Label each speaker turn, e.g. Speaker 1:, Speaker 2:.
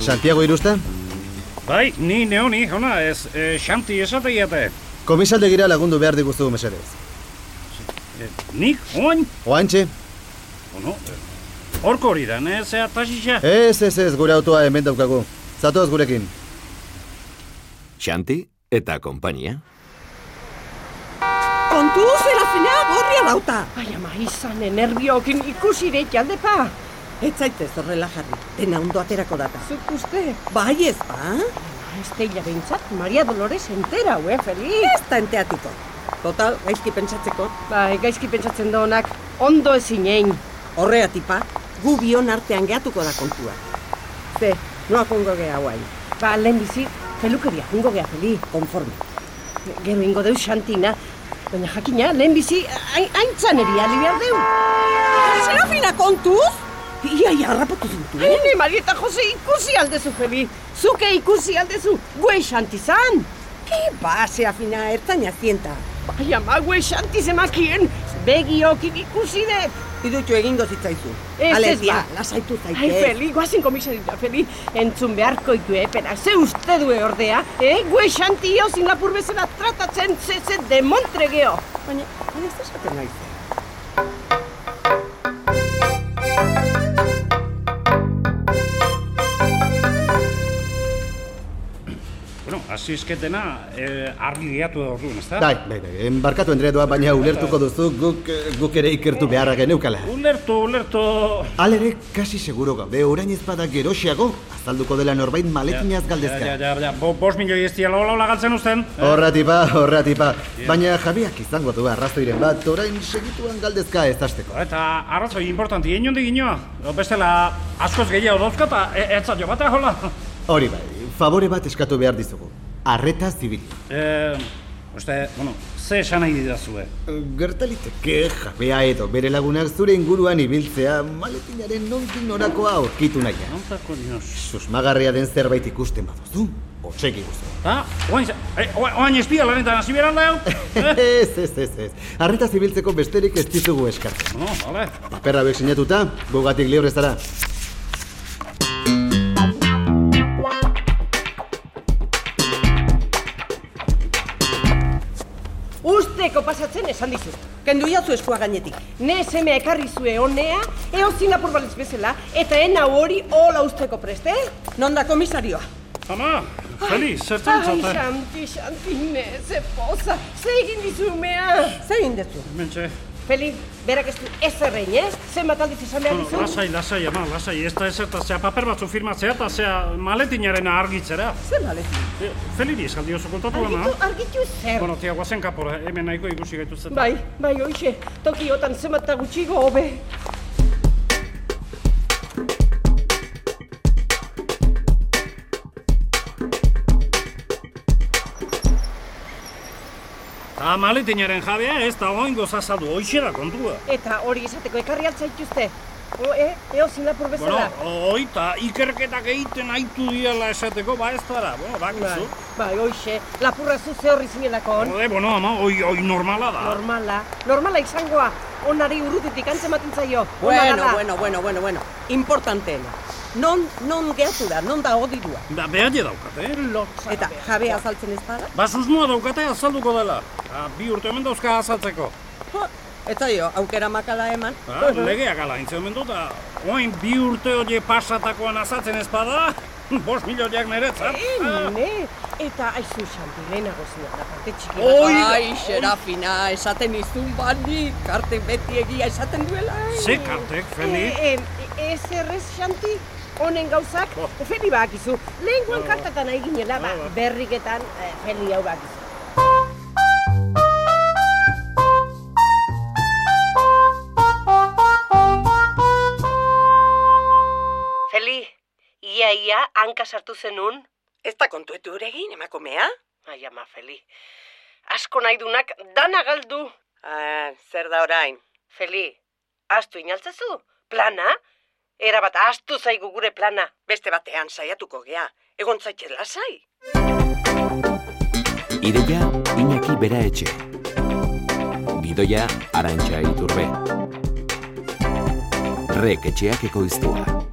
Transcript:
Speaker 1: Santiago Irusta?
Speaker 2: Bai, ni neoni, jauna, ez, e, xanti e, esateiate.
Speaker 1: Komisaldegira lagundu behar diguzu mesedez.
Speaker 2: E, nik, oin,
Speaker 1: Oantxe,
Speaker 2: ono, horko hori da, ne, zea tasixa.
Speaker 1: ez ez ez gure autoa hemen daukagu. Zatoz gurekin.
Speaker 3: Xanti eta konpainia.
Speaker 4: Kontu serafina gorria dauta.
Speaker 5: Ai, Bai, ama, izan enerbiokin ikusi deit aldepa.
Speaker 4: Ez zaitez horrela jarri, dena ondo aterako data.
Speaker 5: Zuk uste,
Speaker 4: Bai ez, ba?
Speaker 5: ez teila behintzat, Maria Dolores entera, eh, ue, Feliz.
Speaker 4: Ez da enteatuko. Total, gaizki pentsatzeko,
Speaker 5: Bai, gaizki pentsatzen da honak, ondo ezin egin.
Speaker 4: horrea tipa, gu bion artean gehatuko da kontua. Ze, noak ongo geha guain,
Speaker 5: Ba, lehen bizi, pelukeria, ingo gea, Feli.
Speaker 4: konforme.
Speaker 5: Gero ingo deu xantina. Baina jakina, lehen bizi, hain- haintzan eri ali behar deu.
Speaker 4: Serafina kontuz? Ia, ia, harrapatu zintu.
Speaker 5: Hene, Maria eta Jose ikusi aldezu, Feli. Zuke ikusi aldezu, gue xanti zan.
Speaker 4: Ki ba, serafina, ertzaina zienta.
Speaker 5: Ai, Bai, ama, gue xanti zemakien, begiokin ikusi dut.
Speaker 4: Idutxo egingo zitzaizu.
Speaker 5: Ez,
Speaker 4: Ale,
Speaker 5: ez,
Speaker 4: tia,
Speaker 5: ba.
Speaker 4: lasaitu zaitez.
Speaker 5: Ai, Feli, guazen komisarita, Feli, entzun beharko iku epena, ze uste du ordea, eh? Gue xantio lapur bezala tratatzen ze, ze demontre geho.
Speaker 4: Baina, baina ez esaten naiz.
Speaker 2: Bueno, azizketena, e, argi gehiatu da orduan, ez da?
Speaker 1: Bai, bai, bai, em, barkatu Endredua, baina ulertuko duzu guk, eh, guk ere ikertu beharra geneukala.
Speaker 2: Ulertu, ulertu.
Speaker 1: Alere, kasi seguro gaude, orain ez bada geroxeago, azalduko dela norbait malekinaz
Speaker 2: Ja,
Speaker 1: galdezka. Oh.
Speaker 2: ja, ja, ja, bo, bos milioi ez diala hola hola galtzen usten.
Speaker 1: Horra tipa, horra tipa. Baina jabeak izango du arrazoiren bat, orain segituan galdezka ez hasteko.
Speaker 2: Eta arrazoi importanti, inondik inoa. Bestela, askoz gehiago dauzka eta e, ez zailo bata, hola.
Speaker 1: Hori bai, favore bat eskatu behar dizugu. Arreta zibil.
Speaker 2: E, uste, bueno, ze esan nahi didazue.
Speaker 1: Gertaliteke jabea edo bere lagunak zure inguruan ibiltzea maletinaren nondik norakoa aurkitu nahian.
Speaker 2: Nontako dinos.
Speaker 1: Susmagarria den zerbait ikusten baduzu, otsegi guzu.
Speaker 2: Ta, oain, ze- e, oa- oain espia lanetan hasi beran da, hau? Eh?
Speaker 1: ez, ez, ez, ez. Arreta zibiltzeko besterik ez dizugu eskatzen.
Speaker 2: No, vale.
Speaker 1: Paperra bek sinatuta, gugatik libre zara.
Speaker 5: Usteko pasatzen esan dizut.
Speaker 4: Kendu jazu eskua gainetik.
Speaker 5: Ne semea ekarri zue honea, eozin lapur balez bezala, eta ena hori hola usteko eh? preste?
Speaker 4: Nonda komisarioa.
Speaker 2: Ama, Feliz, zertan
Speaker 5: Ai,
Speaker 2: zate.
Speaker 5: xanti, xanti, ne, ze poza, ze egin dizu umea.
Speaker 4: Zein dezu?
Speaker 2: Mentxe,
Speaker 5: Feli, berak ez du ez errein, ez? Zenbat aldiz izan behar
Speaker 2: bueno,
Speaker 5: dizu?
Speaker 2: Hm, lasai, lasai, ama, lasai, ez da ezerta, zea paper batzu firmatzea eta zea maletinarena argitzera.
Speaker 4: Zer malekin?
Speaker 2: E, Feliri eskaldi oso kontatu ama.
Speaker 5: Argitu, argitu zer.
Speaker 2: Bueno, tia, guazen kapora, hemen nahiko ikusi gaituzten.
Speaker 5: Bai, bai, hoxe, tokiotan zenbat eta gutxigo hobe.
Speaker 2: Ta maletinaren jabea ez da oingo zazadu, hoxe da kontua.
Speaker 5: Eta hori izateko ekarri altzaituzte. O, e, eo zinapur
Speaker 2: Bueno,
Speaker 5: bezala.
Speaker 2: oita, ikerketak egiten aitu diala esateko, ba ez dara, bueno,
Speaker 5: bai,
Speaker 2: bakizu.
Speaker 5: bai, hoxe, lapurra zu ze horri zinelako on.
Speaker 2: Ode, bueno, ama, oi, oi normala da.
Speaker 5: Normala, normala izangoa. Onari urrutetik antzematen zaio. Ona
Speaker 4: Bueno,
Speaker 5: dala.
Speaker 4: bueno, bueno, bueno, bueno. Importanteena. Non, non gehatu da, non da odidua.
Speaker 2: Da, behaile daukate, eh?
Speaker 5: Lotza
Speaker 4: Eta
Speaker 5: bera.
Speaker 4: jabea azaltzen ez bada?
Speaker 2: Ba, susmoa daukate azalduko dela. Ta, bi urte hemen dauzka azaltzeko.
Speaker 4: Jo, Ez zaio, aukera makala eman.
Speaker 2: Ha, legeak ala intzen hemen dut, ta, oin bi urte hori pasatakoan azaltzen ez bada, bost milioiak niretzat.
Speaker 5: Eh, ne? Eta aizu xanti, lehenago zina da parte txiki. bat.
Speaker 4: Oi, Ai, xerafina, esaten izun bani, karte beti egia esaten duela.
Speaker 2: Ze kartek, Feli?
Speaker 5: Eh, eh, ez errez, Xanti, honen gauzak,
Speaker 2: Oh.
Speaker 5: Feli bakizu. Lehen guen kartatan nahi ginela, ba, berriketan eh, Feli hau bakizu. Feli, ia ia hanka sartu zenun.
Speaker 4: Ez da kontuetu egin, emakumea?
Speaker 5: Ai ama, Feli. Asko nahi dunak dana galdu.
Speaker 4: Ah, zer da orain?
Speaker 5: Feli, astu inaltzezu? Plana? Erabat astu zaigu gure plana.
Speaker 4: Beste batean saiatuko gea. Egon zaitez lasai.
Speaker 3: Ideia Iñaki Bera Etxe. Gidoia Arantxa Iturbe. Rek etxeak ekoiztua.